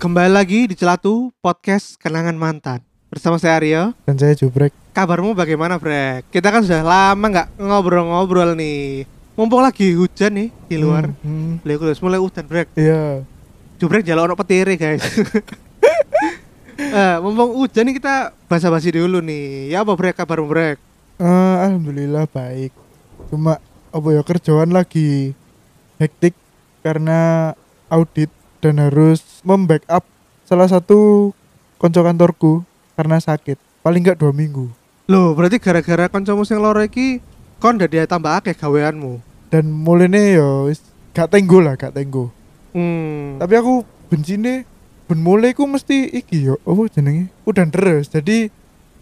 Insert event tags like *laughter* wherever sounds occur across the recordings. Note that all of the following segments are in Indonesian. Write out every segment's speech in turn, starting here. Kembali lagi di Celatu Podcast Kenangan Mantan Bersama saya Aryo Dan Kan saya jubrek. Kabarmu bagaimana Brek? Kita kan sudah lama nggak ngobrol-ngobrol nih Mumpung lagi hujan nih di luar Hmm, hmm. Lha iku wis mulai hujan Brek Iya. Jubrek jalan ono petire guys *laughs* Eh, Mumpung hujan nih kita basa-basi dulu nih Ya apa Brek kabarmu Brek? Eh, alhamdulillah baik. Cuma apa ya kerjaan lagi hektik karena audit dan harus membackup salah satu konco kantorku karena sakit. Paling nggak dua minggu. Loh berarti gara-gara kancamu sing loro iki Kon udah tambah akeh gaweanmu Dan mulainya ya wis gak tenggo lah, gak tenggo. Hmm. Tapi aku benci nih ben mulai ku mesti iki yo apa jenenge udah terus jadi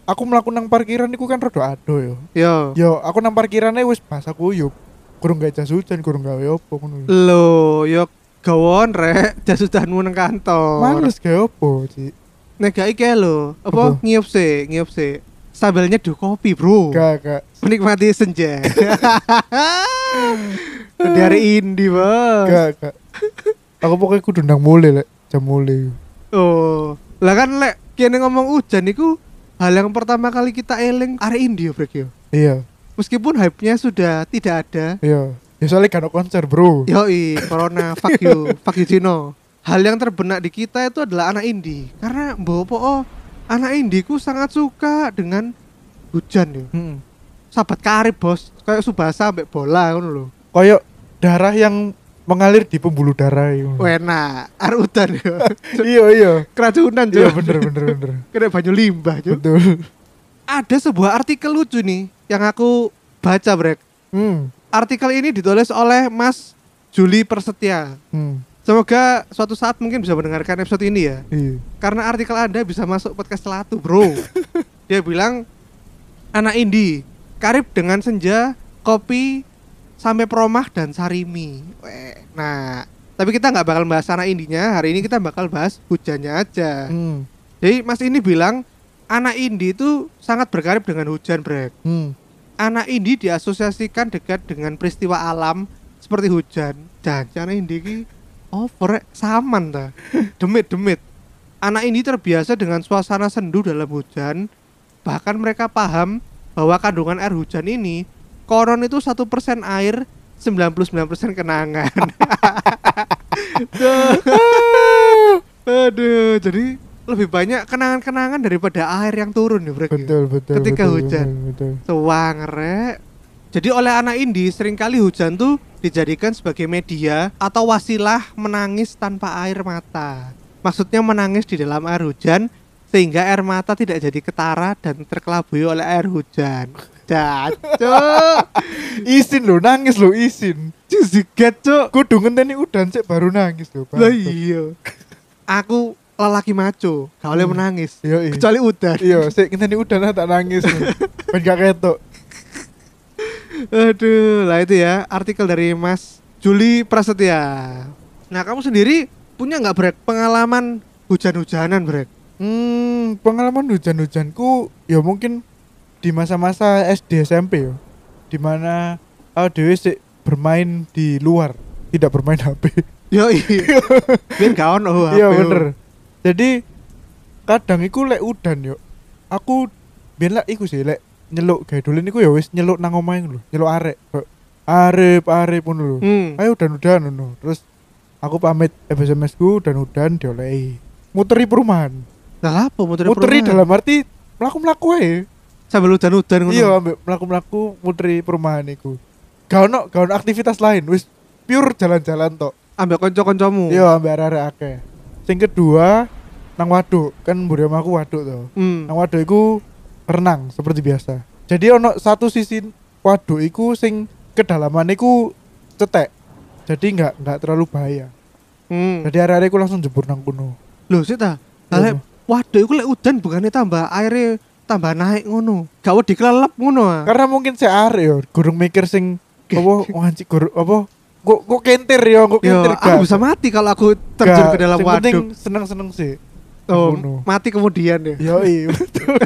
aku melakukan nang parkiran iku kan rada adoh yo Yo. Yo, aku nang parkirannya wis pas aku yuk kurang gak jas hujan, kurang gawe opo ngono. Loh, yo gawon rek, *laughs* jas udanmu nang kantor. Males gawe opo, Ci. Nek gak iki lho, apa Apa? ngiup sih, ngiup sih. Sambil nyeduh kopi, Bro. Gak, gak. Menikmati *laughs* senja. Dari Indi, Bos. Gak, gak. Aku pokoknya kudu nang mule lek, jam mule. Oh. Lah kan lek kene ngomong hujan iku hal yang pertama kali kita eling arek Indi yo, Brek yo. Iya, Meskipun hype-nya sudah tidak ada. iya. Ya soalnya kan konser, Bro. Yoi, *laughs* corona, fuck you, fuck you Cino. Hal yang terbenak di kita itu adalah anak indie Karena mbok po oh, anak indiku sangat suka dengan hujan ya. Heeh. Sahabat karib bos, kayak Subasa sampai bola ngono lho. Koyok darah yang mengalir di pembuluh darah itu. Enak, ar udan *laughs* ya. Iya, iya. Keracunan Iya, juga bener, bener, bener. Kena banyu limbah juga. Betul. Ada sebuah artikel lucu nih yang aku baca brek. Hmm. Artikel ini ditulis oleh Mas Juli Persetia. Hmm. Semoga suatu saat mungkin bisa mendengarkan episode ini ya. Iya. karena artikel Anda bisa masuk podcast Celatu, Bro. Dia bilang anak indie karib dengan senja, kopi sampai peromah dan sarimi. Weh, Nah, tapi kita nggak bakal bahas anak indinya. Hari ini kita bakal bahas hujannya aja. Hmm. Jadi Mas ini bilang anak indie itu sangat berkarib dengan hujan, Brek. Hmm. Anak indie diasosiasikan dekat dengan peristiwa alam seperti hujan. Dan anak indie ki over saman ta. Demit-demit. Anak ini terbiasa dengan suasana sendu dalam hujan. Bahkan mereka paham bahwa kandungan air hujan ini koron itu 1% air, 99% kenangan. Duh. Aduh, jadi lebih banyak kenangan-kenangan daripada air yang turun ya, Brek. Betul, betul. Ketika betul, hujan. Betul. betul. Tuang rek. Jadi oleh anak indie seringkali hujan tuh dijadikan sebagai media atau wasilah menangis tanpa air mata. Maksudnya menangis di dalam air hujan sehingga air mata tidak jadi ketara dan terkelabui oleh air hujan. *laughs* Cacok. Isin lo, nangis lo, isin. Juziget, cuk. Kudu ngenteni udan sik baru nangis lho. Lah iya. Aku lelaki maco, gak boleh Hmm. menangis. Iya, iya. Kecuali udan. Iya, sik ngenteni udan lah tak nangis. Ben gak ketok. Aduh, lah itu ya artikel dari Mas Juli Prasetya. Nah, kamu sendiri punya nggak brek pengalaman hujan-hujanan brek? Hmm, pengalaman hujan-hujanku ya mungkin di masa-masa SD SMP ya. Dimana aku dhewe sik bermain di luar, tidak bermain HP. Yo iya. Biar gak ono HP. Iya yo. bener. Jadi kadang iku lek udan yo. Aku biyen lek iku sih lek nyeluk gawe dolen iku ya wis nyeluk nang omahe ngono lho, nyeluk arek. Kayak, Arep arep ngono lho. Hmm. ayo udan udan no. terus aku pamit SMS ku dan udan diolehi muteri perumahan Lah apa muteri muteri perumahan? dalam arti melaku melaku aja sambil hujan-hujan ngono. iya ambek melaku melaku muteri perumahan iku gak ono gak ono aktivitas lain wis pure jalan-jalan tok Ambek kanca-kancamu. iya ambek arek akeh sing kedua nang waduk kan mburi aku waduk to Hmm. nang waduk iku renang seperti biasa jadi ono satu sisi waduk iku sing kedalaman iku cetek jadi nggak nggak terlalu bahaya Hmm. Jadi hari-hari aku langsung jebur nang kuno. Loh, sik ta. Lah Iya. lek waduh iku lek udan bukannya tambah airnya tambah naik ngono. Gak wedi kelelep ngono. ah. Karena mungkin saya arek yo, gurung mikir sing apa *laughs* nganci gur apa kok kok kentir yo, kok Yo, kentir aku bisa mati kalau aku terjun ke dalam waduk. seneng-seneng sih. Oh, Ngono. mati kemudian ya. Yo iya *laughs* betul.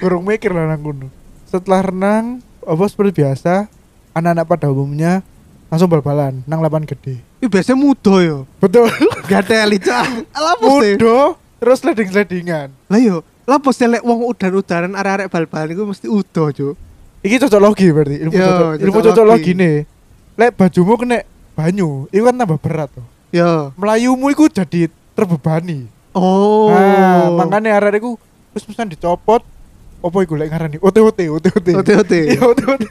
Gurung mikir lah nang kuno. Setelah renang apa seperti biasa anak-anak pada umumnya langsung bal-balan nang lapangan gede Ih biasanya muda yo. betul Gak teli *laughs* cah. Lapo sih? mudo terus leding ledingan Lah yo, lapo sih lek wong udan-udanan arek-arek bal-balan iku mesti udo, Cuk. Iki cocokologi berarti ilmu Yo, cocok ilmu cocokologi. cocokologi nih. Lek bajumu kena banyu, itu kan tambah berat tuh. Yo. Melayumu itu jadi terbebani. Iya. Oh. Nah, makanya arek iku wis pesan dicopot. Apa iku lek ngarani OTOT OTOT. OTOT. *laughs* Iya OTOT.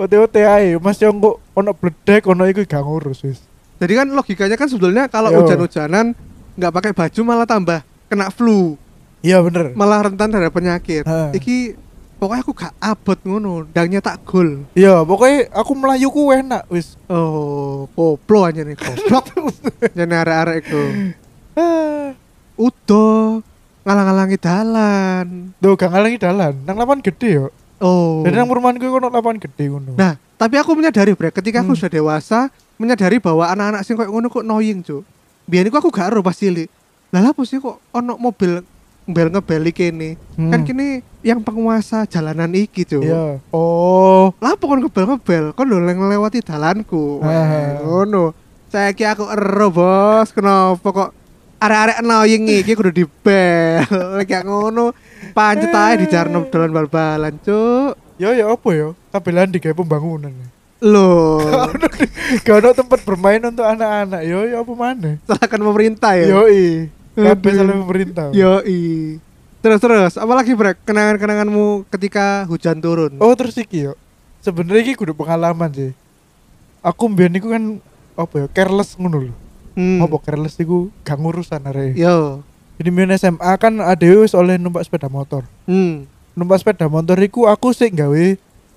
OTOT ae, Mas yo engko ono bledek ono iku gak ngurus wis. Jadi kan logikanya kan sebetulnya kalau Yo. hujan-hujanan nggak pakai baju malah tambah kena flu, Iya bener. malah rentan terhadap penyakit. Ha. Iki pokoknya aku gak abot ngono, dangnya tak gol. Iya, pokoknya aku melayu ku enak wis. *laughs* Oh, koplo aja nih goblok. Jadi arek-arek itu Ah, udo ngalang-alangi dalan. Tuh gak ngalangi dalan, nang lapangan gede yo. Oh. Dan nang perumahan ku ono lapangan gede ngono. Nah, tapi aku menyadari Bre, ketika aku Hmm. sudah dewasa, menyadari bahwa anak-anak sing koyo ngono kok annoying, Cuk. Biyen iku aku gak ero pas cilik. Lah lah apa sih kok ono mobil bel ngebeli kene. Hmm. Kan kini yang penguasa jalanan iki, Cuk. Iya. Oh, Lah apa kon ngebel-ngebel, kon lho ngelewati dalanku. Wah, Ah. Ngono. Saya aku ero, Bos. Kenapa kok arek-arek annoying iki kudu dibel. *laughs* Lek gak ngono, pancet ae dijarno dolan bal-balan, Cuk. Ya ya apa ya? Tabelan di kayak pembangunan. *laughs* Loh. Gak ada tempat bermain untuk anak-anak. Ya ya apa mana? salahkan pemerintah ya. Yo i. Kabeh Aduh. salah pemerintah. Yoi. Terus terus, apalagi brek kenangan-kenanganmu ketika hujan turun. Oh terus iki yo. Sebenarnya iki kudu pengalaman sih. Aku mbiyen niku kan apa ya careless ngono lho. Hmm. Iya. Apa careless iku gak ngurusan arek. Yo. Jadi mbiyen SMA kan adewe wis oleh numpak sepeda motor. Hmm. Numpak sepeda motor iku aku sih gawe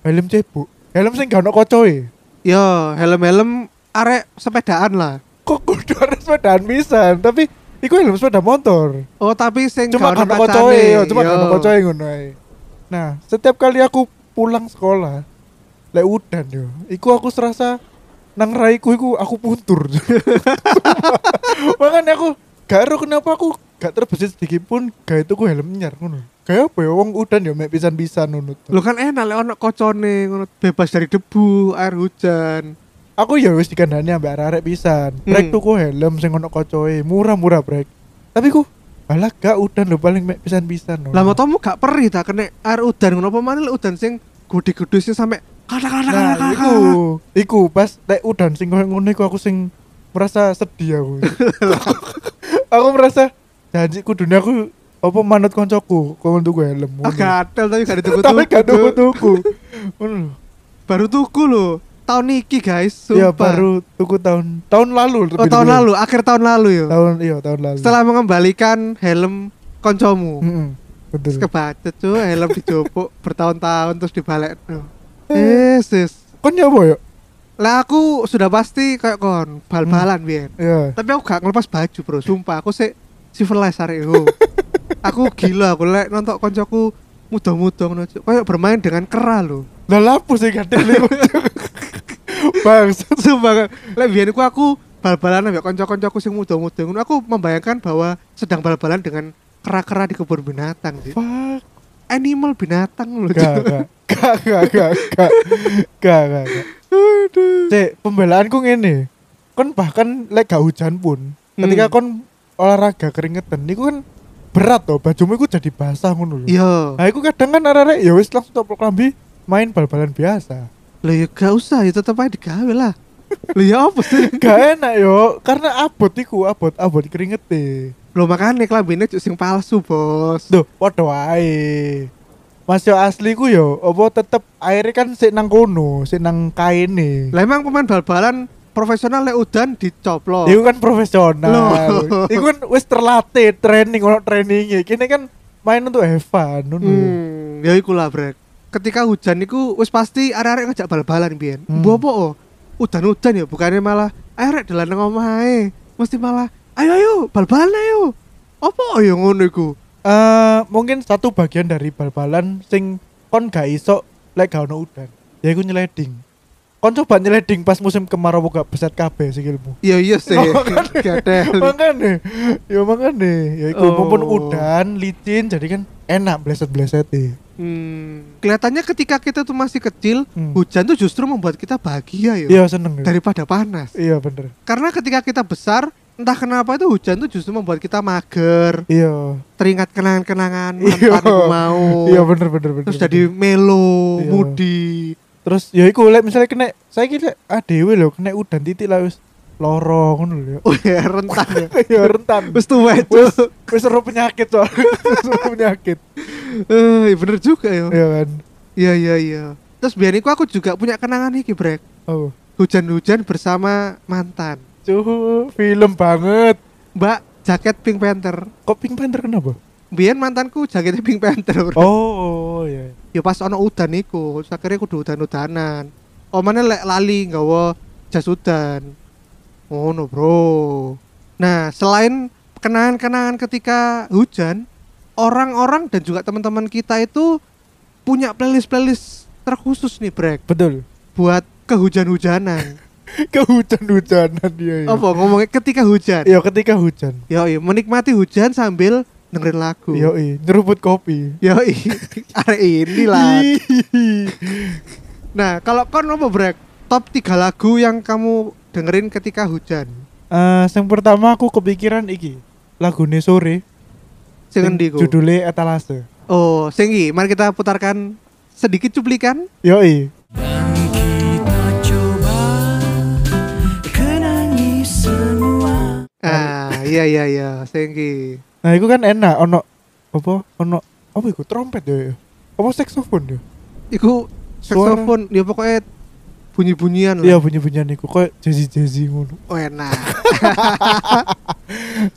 helm cebuk. Helm sing gak ono kocoe. Yo, helm-helm arek sepedaan lah. Kok kudu *laughs* ada sepedaan pisan, tapi iku helm sepeda motor. Oh, tapi sing cuma gak Iya. karena ono kocoe kacane. yo, ya, cuma Yo. karena kocoe ngono ae. Nah, setiap kali aku pulang sekolah lek udan yo, iku aku serasa nang raiku iku *laughs* aku puntur. Sumpah. Makanya aku gak ero kenapa aku gak terbesit sedikit pun gak itu ku helm nyar ngono. Kayak apa ya wong udan yo mek pisan-pisan ngono. to. Lu kan enak lek ono kocone ngono bebas dari debu, air hujan. Aku ya wis dikandani ambek arek pisan. Hmm. Brek tuku helm sing ono kocoe, murah-murah brek. Tapi ku Alah gak udan lho paling mek pisan-pisan Lah motomu gak perih ta kena air udan ngono apa maneh lek udan sing gede-gede sing sampe katak-katak. Nah, iku, iku pas lek udan sing koyo ngono iku aku sing merasa sedih *laughs* aku. aku merasa janji dunia aku apa manut koncoku kowe tuku helm. ngono. Ah, Gatel tapi gak dituku-tuku. *laughs* Tapi gak tuku-tuku. Ngono lho. baru tuku loh tahun iki guys sumpah Ya baru tuku tahun tahun lalu. oh lebih tahun dulu. lalu akhir tahun lalu yo Tahun iya tahun lalu. Hmm. setelah mengembalikan helm koncomu Mm-mm, betul. terus kebacet cuy helm dijopok *laughs* bertahun-tahun terus dibalik eh sis Kon ya boyo. lah aku sudah pasti kayak kon bal-balan biar Ya. tapi aku gak ngelepas baju bro sumpah aku sih civilized hari *laughs* itu aku gila aku lek nonton koncoku muda-muda ngono Cuk. kayak bermain dengan kera loh Lah lapo sih gak teli. *laughs* Bangsat. Sumpah Lek biyen iku aku bal-balan ambek kanca-kancaku sing muda-muda ngono aku membayangkan bahwa sedang bal-balan dengan kera-kera di kebun binatang sih. Fuck. Animal binatang loh. Gak, Cuk. *laughs* gak, gak, gak, gak, gak, gak, gak, gak. Cek, pembelaanku ngene. Kon bahkan lek gak hujan pun, Hmm. ketika kon olahraga keringetan, niku kan berat toh, bajumu iku jadi basah ngono lho. Iya. Nah, iku kadang kan arek-arek ya wis langsung topok klambi main bal-balan biasa. Lah ya gak usah ya tetep aja digawe lah. *laughs* Lah ya apa sih? *laughs* Gak enak yo, karena abot iku, abot abot keringet e. Lo makane klambine cuk sing palsu, Bos. Duh, padha wae. Mas yo asli ku yo, apa tetep airnya kan sik nang kono, sik nang kaine. Lah emang pemain bal-balan profesional lek udan dicoplo. Iku kan profesional. Loh. Iku kan wis terlatih training ono trainingnya. Kini kan main untuk have fun. ngono. Hmm, ya iku lah, Brek. Ketika hujan iku wis pasti arek-arek ngejak bal-balan biyen. Hmm. Mbok apa o? Udan-udan ya, bukannya malah "Ayo, arek dalan nang omahe. Mesti malah ayo ayo bal-balan ayo. Apa ya ngono iku? Eh, mungkin satu bagian dari bal-balan sing kon gak iso lek gak ono udan. Ya iku nyeleding. Kon coba nyeleding pas musim kemarau gak beset kabeh sikilmu. Iya iya sih. Oh, kan. *laughs* *laughs* Gadel. Makane, ya makane, ya iku Oh. mumpun udan, licin jadi kan enak bleset-blesete. Hmm, kelihatannya ketika kita tuh masih kecil, Hmm. hujan tuh justru membuat kita bahagia ya Iya seneng. ya. daripada panas. Iya bener. Karena ketika kita besar, entah kenapa itu hujan tuh justru membuat kita mager, Iya. teringat kenangan-kenangan Iya. mantan yang mau. Iya bener bener bener. Oh. Terus bener. jadi melo, Iya. moody. terus ya iku lek misalnya kena saya kira adewe lho kena udan titik lah wis loro ngono lho. Oh ya rentan ya. *laughs* Ya rentan. *laughs* Wes tuwa itu. wis wis seru penyakit *laughs* soal. seru penyakit. Eh, bener juga ya. Iya kan. Iya iya iya. Terus biar iku aku juga punya kenangan iki, Brek. Oh. Hujan-hujan bersama mantan. Cuh, film banget. Mbak, jaket Pink Panther. Kok Pink Panther kenapa? Biar mantanku jaketnya Pink Panther. Bro. Oh, oh iya. Ya pas ono udan iku, terus akhirnya kudu udan-udanan. Omane lek lali nggawa jas udan. Ngono, Bro. Nah, selain kenangan-kenangan ketika hujan, orang-orang dan juga teman-teman kita itu punya playlist-playlist terkhusus nih, Brek, Betul. buat kehujan-hujanan. *laughs* Kehujan-hujanan dia. Iya. Apa ngomongnya ketika hujan? Iya, ketika hujan. Yo, menikmati hujan sambil dengerin lagu. Yo, iya. nyeruput kopi. Eh, Yo, *laughs* arek ini Iya. *laughs* lah. Hihihi. Nah, kalau kon apa brek? Top 3 lagu yang kamu dengerin ketika hujan. Eh, yang pertama aku kepikiran iki. Lagune sore. Sing sing endi ku? Judulnya etalase. Oh, sing iki, mari kita putarkan sedikit cuplikan. Yo, iya. Dan kita coba kenangi semua Ah, iya iya iya, sing iki. Nah, itu kan enak ono apa? Ono apa iku trompet ya? Apa saxophone ya? Hmm. Iku Suara- saxophone, ya pokoknya bunyi-bunyian lah. Iya, bunyi-bunyian iku koyo jazzy-jazzy ngono. Oh, enak.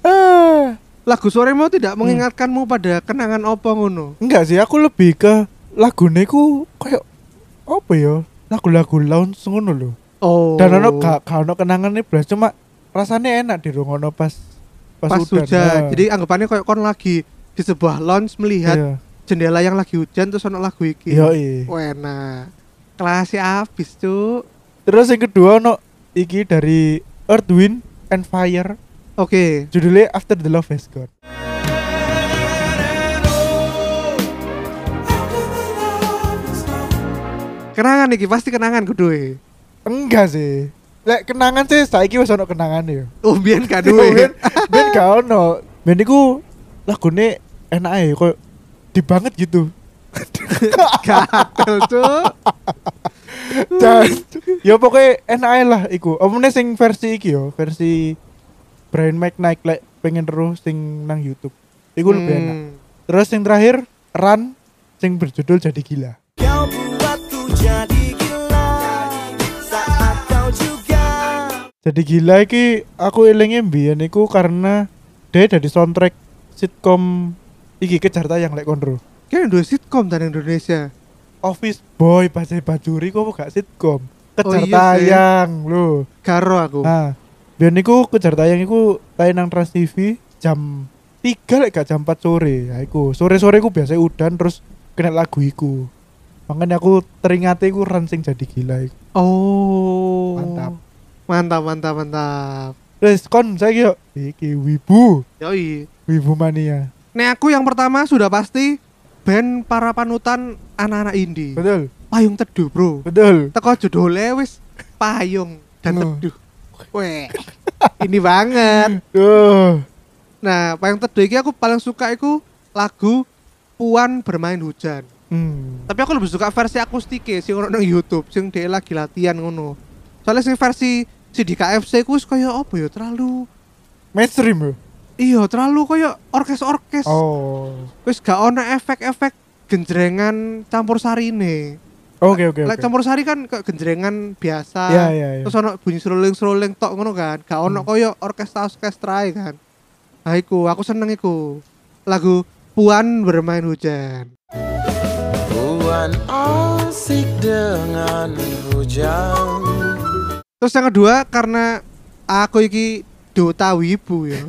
Ah. lagu suaramu tidak Hmm. mengingatkanmu pada kenangan opo ngono. Enggak sih, aku lebih ke lagune ku koyo apa ya? Lagu-lagu lounge ngono lho. Oh. Dan ono gak gak ono kenangane blas cuma rasanya enak di ngono pas pas, pas udan, hujan. nah. Jadi anggapannya kayak kon lagi di sebuah lounge melihat iya. jendela yang lagi hujan terus ono lagu iki. Iya, iya. Wena. Kelasnya abis, Cuk. Terus yang kedua ono iki dari Earth Wind and Fire Oke. judulnya After the Love Has Gone. Kenangan iki pasti kenangan kudu. Enggak sih. Lek kenangan sih saiki wis ono kenangan ya. Oh, biyen gak *laughs* *laughs* Ben duwe. ben gak ono. Ben iku lagune enak ae koyo di banget gitu. Gatel, Cuk. Dan ya pokoknya enak ae lah iku. Omone sing versi iki yo, versi Brian McKnight lek pengen terus sing nang YouTube. *laughs* Iku lebih enak. Hmm. Terus yang terakhir Run sing berjudul Jadi Gila. Kau buatku jadi gila Saat kau juga Jadi gila iki aku elinge mbiyen iku karena dia dari soundtrack sitkom iki kejar tayang lek konro. Kayaknya duwe sitkom dari Indonesia. Office Boy Pasai Bajuri kok gak sitkom. Kejar Oh iya sih. tayang lho. Garo aku. Nah, biyen iku kejar tayang iku tayang nang Trans TV jam 3 lek gak jam 4 sore. Ya iku. Sore-sore iku biasa udan terus kena lagu iku. Makanya aku teringate iku run sing jadi gila iku. Oh. Mantap. Mantap, mantap, mantap. Terus kon saya yo iki wibu, Yoi. wibu mania. Nek aku yang pertama sudah pasti band para panutan anak-anak indie. Betul, Payung Teduh, Bro. betul. teko judulnya wis payung dan Ngoh. teduh. Weh. ini banget. Duh. Nah, payung teduh iki aku paling suka iku lagu Puan bermain hujan. Hmm. Tapi aku lebih suka versi akustik e, sing ono nang YouTube sing dhek lagi latihan ngono. Soalnya sing versi CD KFC ku wis kaya apa ya terlalu Mainstream ya? iya terlalu kaya orkes-orkes. Oh. Wis gak ono efek-efek genjrengan campur sarine. Oke oke Lek oke. campur sari kan kayak genjrengan biasa. Ya ya ya. terus ono bunyi seruling seruling tok ngono kan gak ono Hmm. koyo orkestra orkestra kan nah iku aku seneng iku lagu Puan bermain hujan Puan asik dengan hujan terus yang kedua karena aku iki Dota Wibu *laughs* ya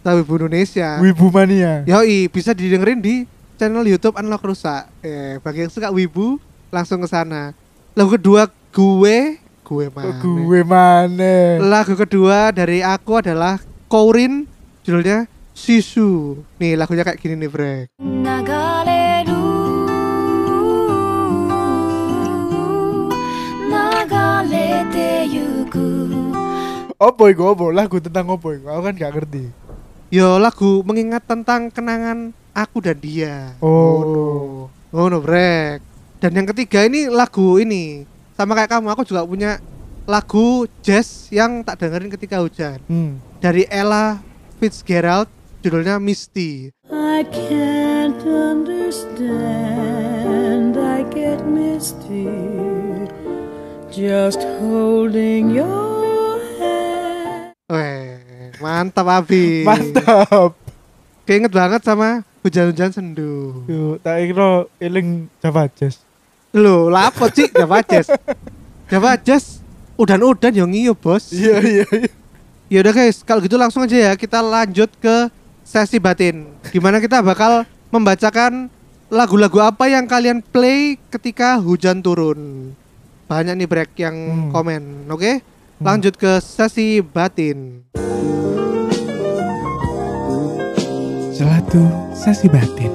Dota Wibu Indonesia Wibu mania. yoi bisa didengerin di channel YouTube Unlock Rusak eh bagi yang suka Wibu langsung ke sana lagu kedua gue gue Oh, mana Gue mana? Lagu kedua dari aku adalah Kourin judulnya Sisu. Nih lagunya kayak gini nih, Brek. 流れる dayuku Apa iku apa? Lagu tentang apa iku? Aku kan gak ngerti. Yo lagu mengingat tentang kenangan aku dan dia. Oh. Ngono brek. Dan yang ketiga ini lagu ini sama kayak kamu aku juga punya lagu jazz yang tak dengerin ketika hujan Hmm. dari Ella Fitzgerald judulnya Misty. I can't understand. I get misty just holding your hand. Weh, mantap Abi. Mantap. Keinget banget sama hujan-hujan sendu. Yo, tak kira eling Java Jazz. Loh, lapo *laughs* sih Java Jazz? Java Jazz udan-udan yang ngiyo, Bos. Iya iya iya. Ya udah guys, kalau gitu langsung aja ya kita lanjut ke sesi batin. Dimana kita bakal membacakan lagu-lagu apa yang kalian play ketika hujan turun. Banyak nih break yang Hmm. komen, oke? Lanjut ke sesi batin. Selatu sesi batin.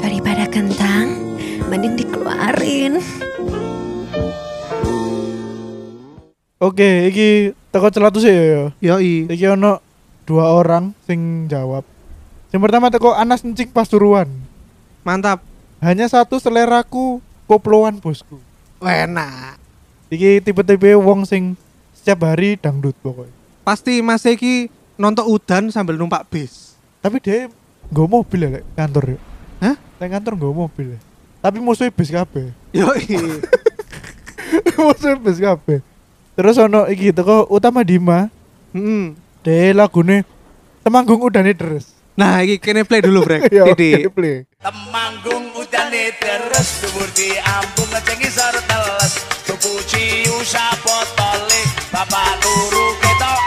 daripada kentang mending dikeluarin Oke, iki teko celatu sih ya. ya. Yoi. Iki ono dua orang sing jawab. Yang pertama teko Anas Encik Pasuruan. Mantap. Hanya satu seleraku koploan bosku. Enak. Iki tipe-tipe wong sing setiap hari dangdut pokoknya. Pasti Mas Eki nonton udan sambil numpak bis. Tapi dia nggo mobil ya lek kantor ya. Hah? Lek kantor nggo mobil ya. Tapi musuhnya bis kabeh. *laughs* *laughs* Yoi. musuhnya bis kabeh. Terus ono iki teko Utama Dima, Mm-mm. deh lagune Temanggung Udane Deres. *laughs* Nah, ini kene play dulu, Brek. Ya, oke, Titik. play. Temanggung udane deres dhuwur di ambung ngecengi sor teles tuku ciu sapotole bapak turu ketok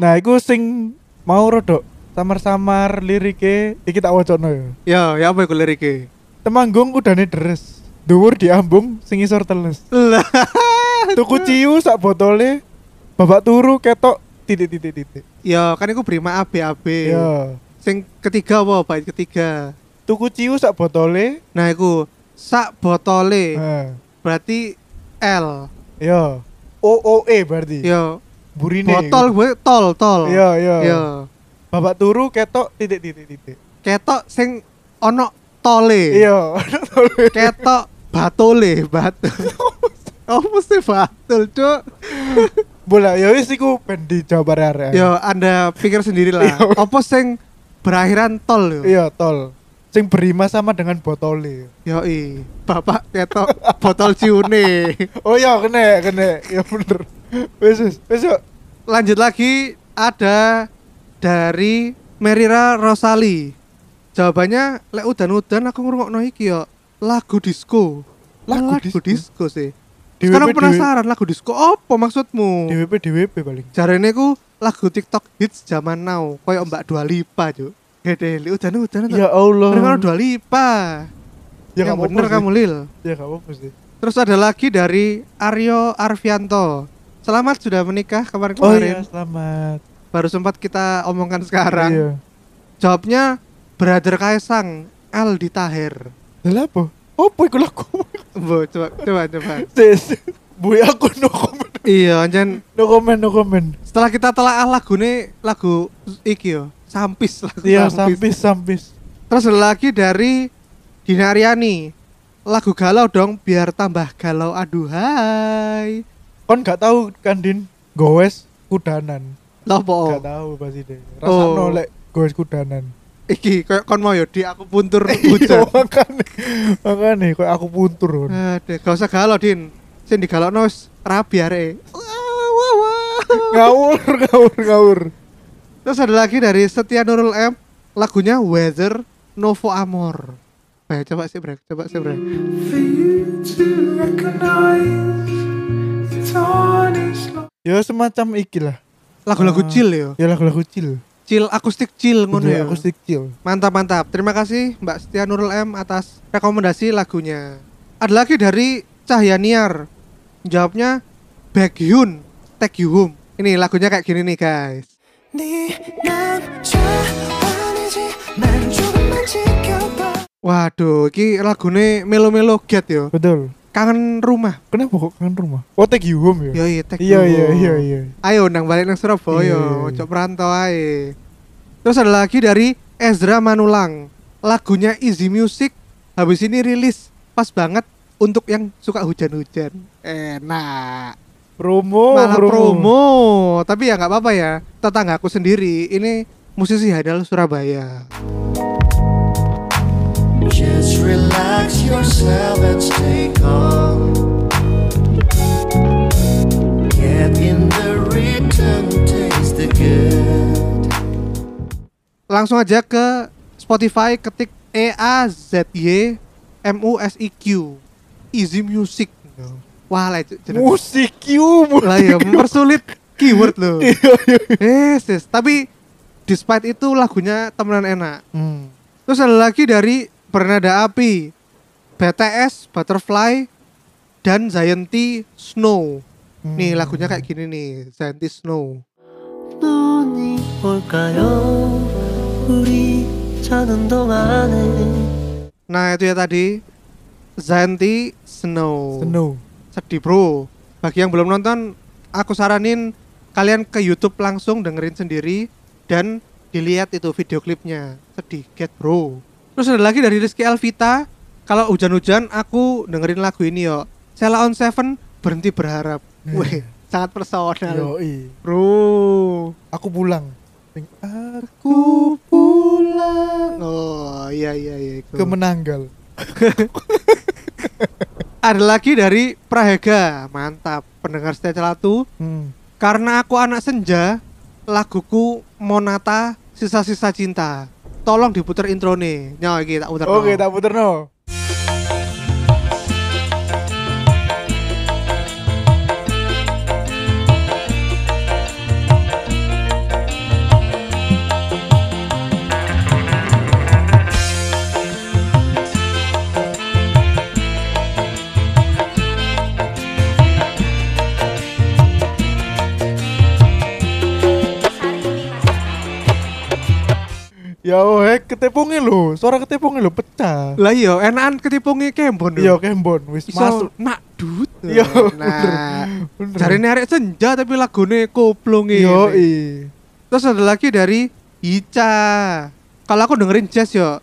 Nah, iku sing mau rodok samar-samar lirike iki tak wacana ya. Yo, ya apa iku liriknya? Temanggung udane deres. Dhuwur diambung sing isor teles. Lah. *laughs* Tuku ciu sak botole. Babak turu ketok titik titik titik. Yo, kan iku beri maaf BAB. Ya. Sing ketiga apa bait ketiga? Tuku ciu sak botole. Nah, iku sak botole Heeh. berarti L. Ya. OOE berarti. Yo, Burine. Iya. botol gue tol tol. Yo, yo. Yo. Babak turu ketok titik titik titik. Ketok sing ono tole. Iya. *laughs* Ketok batole, batu. Oh, mesti batul, Cuk. Bola ya wis iku ben dijawab arek. Yo, Anda pikir sendirilah. Apa sing berakhiran tol yo? Iya, tol. Sing berima sama dengan botole. Yoi, Bapak ketok botol ciune. Oh iya kena kena ya bener. Wes wes wes yuk. lanjut lagi ada dari Merira Rosali jawabannya lek udan-udan aku ngrungokno iki yo lagu disco Lagu disco? sih DWP, sekarang penasaran lagu disco apa maksudmu DWP DWP paling. jarene ku lagu TikTok hits zaman now koyo Mbak Dua Lipa cuk Gede, lek udan-udan Ya Allah. Dengar Dua Lipa kan Ya yang nggak bener apa-apa kamu sih. Lil Ya nggak apa-apa sih. terus ada lagi dari Aryo Arfianto selamat sudah menikah Oh kemarin-kemarin iya, selamat. baru sempat kita omongkan sekarang. Iya. Jawabnya Brother Kaisang Aldi Tahir. Lha apa? Apa iku *laughs* lagu? Bu, coba coba *laughs* coba. Sis. Bu aku no comment. iya, anjen No comment, no comment. setelah kita telah lagu nih lagu iki yo, sampis lagu Iya, sampis sampis. Terus ada lagi dari Dina Aryani. Lagu galau dong biar tambah galau aduhai. Kon gak tahu kan Din? Gowes kudanan. Lopo Gak tahu pasti deh. Oh. Rasano lek gowes *laughs* kudanan. iki koyo kon mau yo di aku *laughs* puntur Iya, hujan. makane. Eh. Makane kok aku puntur. Kon. Aduh, gak usah galau Din. Sing digalokno wis rabi areke. Wah, wah, wah. ngawur *laughs* ngawur ngawur Terus ada lagi dari Setia Nurul M lagunya Weather Novo Amor. Eh, coba sih brek, coba sih brek. ya semacam iki lah Lagu-lagu Ah. chill yo. ya lagu-lagu chill Chill akustik chill ngono ya. Bener, akustik chill Mantap mantap. Terima kasih Mbak Setia Nurul M atas rekomendasi lagunya. Ada lagi dari Cahyaniar. Jawabnya Baekhyun Take You Home. Ini lagunya kayak gini nih guys. 네난 좋아하지만 조금만 지켜봐 Waduh, ini lagunya melo-melo get yo. betul kangen rumah Kenapa kok kangen rumah? Oh take you home yo ya? iya take Iya you iya home. iya iya. ayo nang balik nang Surabaya Iya, iya, iya. ojo perantau ae terus ada lagi dari Ezra Manulang lagunya Easy Music habis ini rilis pas banget untuk yang suka hujan-hujan enak Promo malah promo. tapi ya nggak apa-apa ya tetanggaku sendiri ini musisi handal Surabaya Just relax yourself and stay calm. Get in the rhythm, taste the good. langsung aja ke Spotify ketik E A Z Y M U S I Q Easy Music wah lah itu jeneng. Musik you. musik lah *laughs* ya you. mempersulit keyword loh yes, yes. tapi despite itu lagunya temenan enak Hmm. Terus ada lagi dari Bernada Api, BTS, Butterfly, dan Zayanti Snow. Nih lagunya kayak gini nih, Zayanti Snow. 눈이 올까요? 우리 자는 동안에 Nah itu ya tadi Zayanti Snow. Snow. Sedih bro. Bagi yang belum nonton, aku saranin kalian ke YouTube langsung dengerin sendiri dan dilihat itu video klipnya. Sedih get bro. Terus ada lagi dari Rizky Elvita, kalau hujan-hujan aku dengerin lagu ini yo. Sela on Seven berhenti berharap. Weh, sangat personal. Yoi. Bro. Aku pulang. Sing Ku Aku pulang. Oh, iya iya iya. itu. ke Menanggal. ada lagi dari Prahega. Mantap. Pendengar setia celatu Hmm. Karena aku anak senja, laguku Monata sisa-sisa cinta. Tolong diputer introne. Nyo iki tak puter. Oke, tak puter no. Ya oh, hek ketepungnya lo, suara ketepungnya lo pecah. Lah iya, enakan ketipunge kembon. Iya, kembon wis Iso masuk. nak dut. Iya, nah. bener. Jarine arek senja tapi lagune koplonge. Yo Terus ada lagi dari Ica. Kalau aku dengerin jazz yo,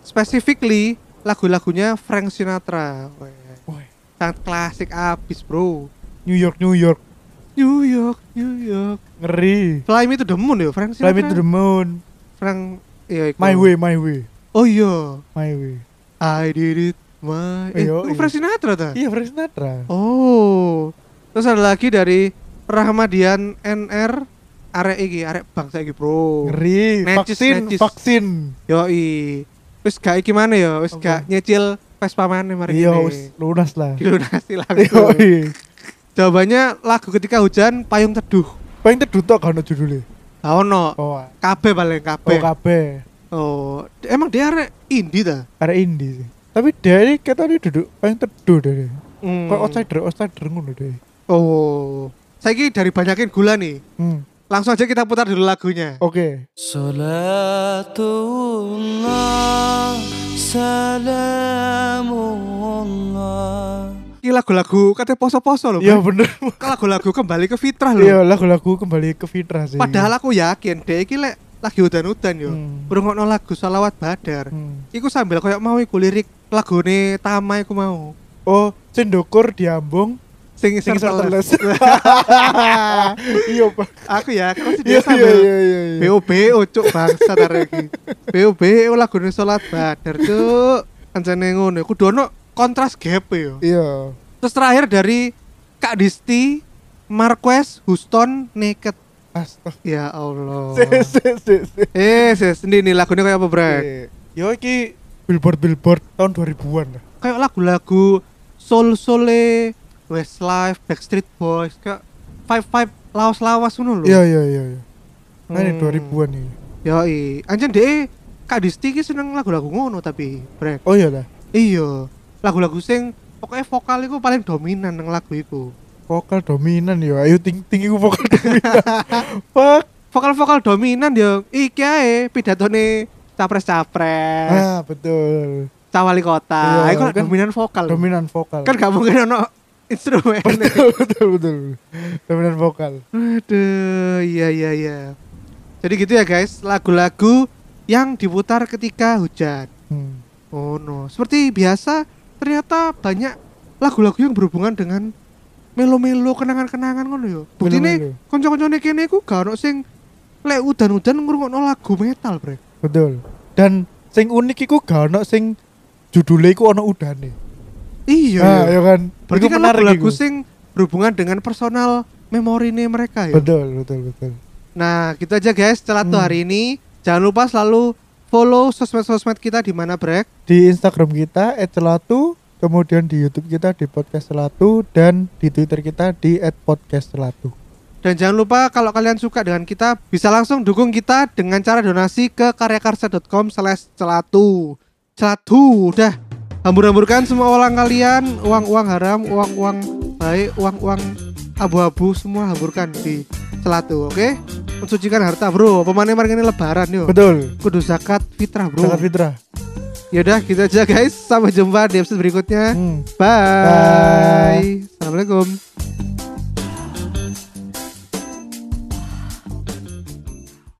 specifically lagu-lagunya Frank Sinatra. Weh, Woi, Sangat klasik abis, Bro. New York New York New York, New York. ngeri. Fly Me to the Moon ya, Frank Fly Sinatra. me to the moon. Frank ya iku. My way, my way, Oh iya. my way. I did it my eh, Iya, itu iya. Frank Sinatra ta? Iya, Frank Sinatra. Oh. Terus ada lagi dari Rahmadian NR arek iki, arek bangsa iki, Bro. Oh. Ngeri. Necis, vaksin, necis. vaksin. Yoi. Wis gak iki mana ya? Wis Apa? gak nyicil Vespa mana mari Iya, ini. wis lunas lah. *laughs* Dilunasi Yo, langsung. Jawabannya lagu ketika hujan payung teduh. Paling teduh tok kan judulnya. Lah ono. Oh, Kabeh paling oh kabeh. kabeh. Oh, emang dia arek indie ta? Ada indie sih. Tapi dari kata dia duduk paling teduh dari. Hmm. Kok outsider, outsider ngono deh. Oh. Saiki dari banyakin gula nih. Hmm. Langsung aja kita putar dulu lagunya. Oke. Salatullah, salamullah. Ini lagu-lagu katanya poso-poso loh. Iya Bang. bener. Ini lagu-lagu kembali ke fitrah loh. Iya, lagu-lagu kembali ke fitrah sih. Padahal aku yakin deh iki lek lagi udan-udan yo. Hmm. Ngrungokno lagu Salawat Badar. Hmm. Iku sambil koyo mau iku lirik lagune Tama iku mau. Oh, cendokur diambung Sing sing serteles. serteles. *laughs* Iya, Pak. aku ya kan Iya, dia iya, sambil iya, iya, iya. BOBO cuk bangsa arek iki. BOBO lagune Salat Badar cuk. Kancane ngono kudu ono kontras gap yo. Iya. Terus terakhir dari Kak Disti, Marquez, Houston, Naked. Astaga. Ya Allah. Se se se se. eh, ses, ini nih lagunya kayak apa, Brek? Iya. Eh. Yo iki billboard billboard tahun 2000-an lah. Kayak lagu-lagu Soul Sole, Westlife, Backstreet Boys, kayak Five Five lawas-lawas ngono lho. Iya iya iya iya. Nah, ini Hmm. 2000-an ini. Yoi. Anjen deh Kak Disti ki seneng lagu-lagu ngono tapi, Brek. Oh iya lah. Iya. Lagu-lagu sing pokoknya vokal itu paling dominan nang lagu itu. Vokal dominan ya. Ayo ting ting iku vokal *laughs* dominan. Fuck. Vokal-vokal dominan ya iki ae pidatone capres-capres. Ah, betul. cah wali kota. Iya, Iku kan kan dominan vokal. dominan vokal *laughs* Kan gak mungkin ono instrumen. betul betul betul dominan vokal Aduh, iya iya iya. Jadi gitu ya guys, lagu-lagu yang diputar ketika hujan. hmm. Oh no, seperti biasa ternyata banyak lagu-lagu yang berhubungan dengan melo-melo kenangan-kenangan ngono ya. yo. Buktine Melo-melo. kanca-kancane kene ku gak ono sing lek udan-udan ngrungokno lagu metal, Bre. betul dan sing unik iku gak ono sing judulnya iku ono udane Iya. ah, iya. ya kan Berarti Iku kan menarik lagu-lagu iku. sing berhubungan dengan personal memorine mereka ya. betul betul betul Nah, gitu aja guys, celatu Hmm. hari ini. Jangan lupa selalu follow sosmed-sosmed kita di mana, Brek. di Instagram kita @celatu, kemudian di YouTube kita di podcast Celatu dan di Twitter kita di @podcastcelatu. Dan jangan lupa kalau kalian suka dengan kita bisa langsung dukung kita dengan cara donasi ke karyakarsa.com slash celatu. Celatu, udah. Hambur-hamburkan semua uang kalian, uang-uang haram, uang-uang baik, uang-uang abu-abu semua hamburkan di celatu, oke? Mensucikan harta, bro. Pemanen ini lebaran yo. Betul. Kudu zakat fitrah, bro. Ya gitu Sangat fitrah. Yaudah, kita aja guys. Sampai jumpa di episode berikutnya. Hmm. Bye. Bye. Assalamualaikum.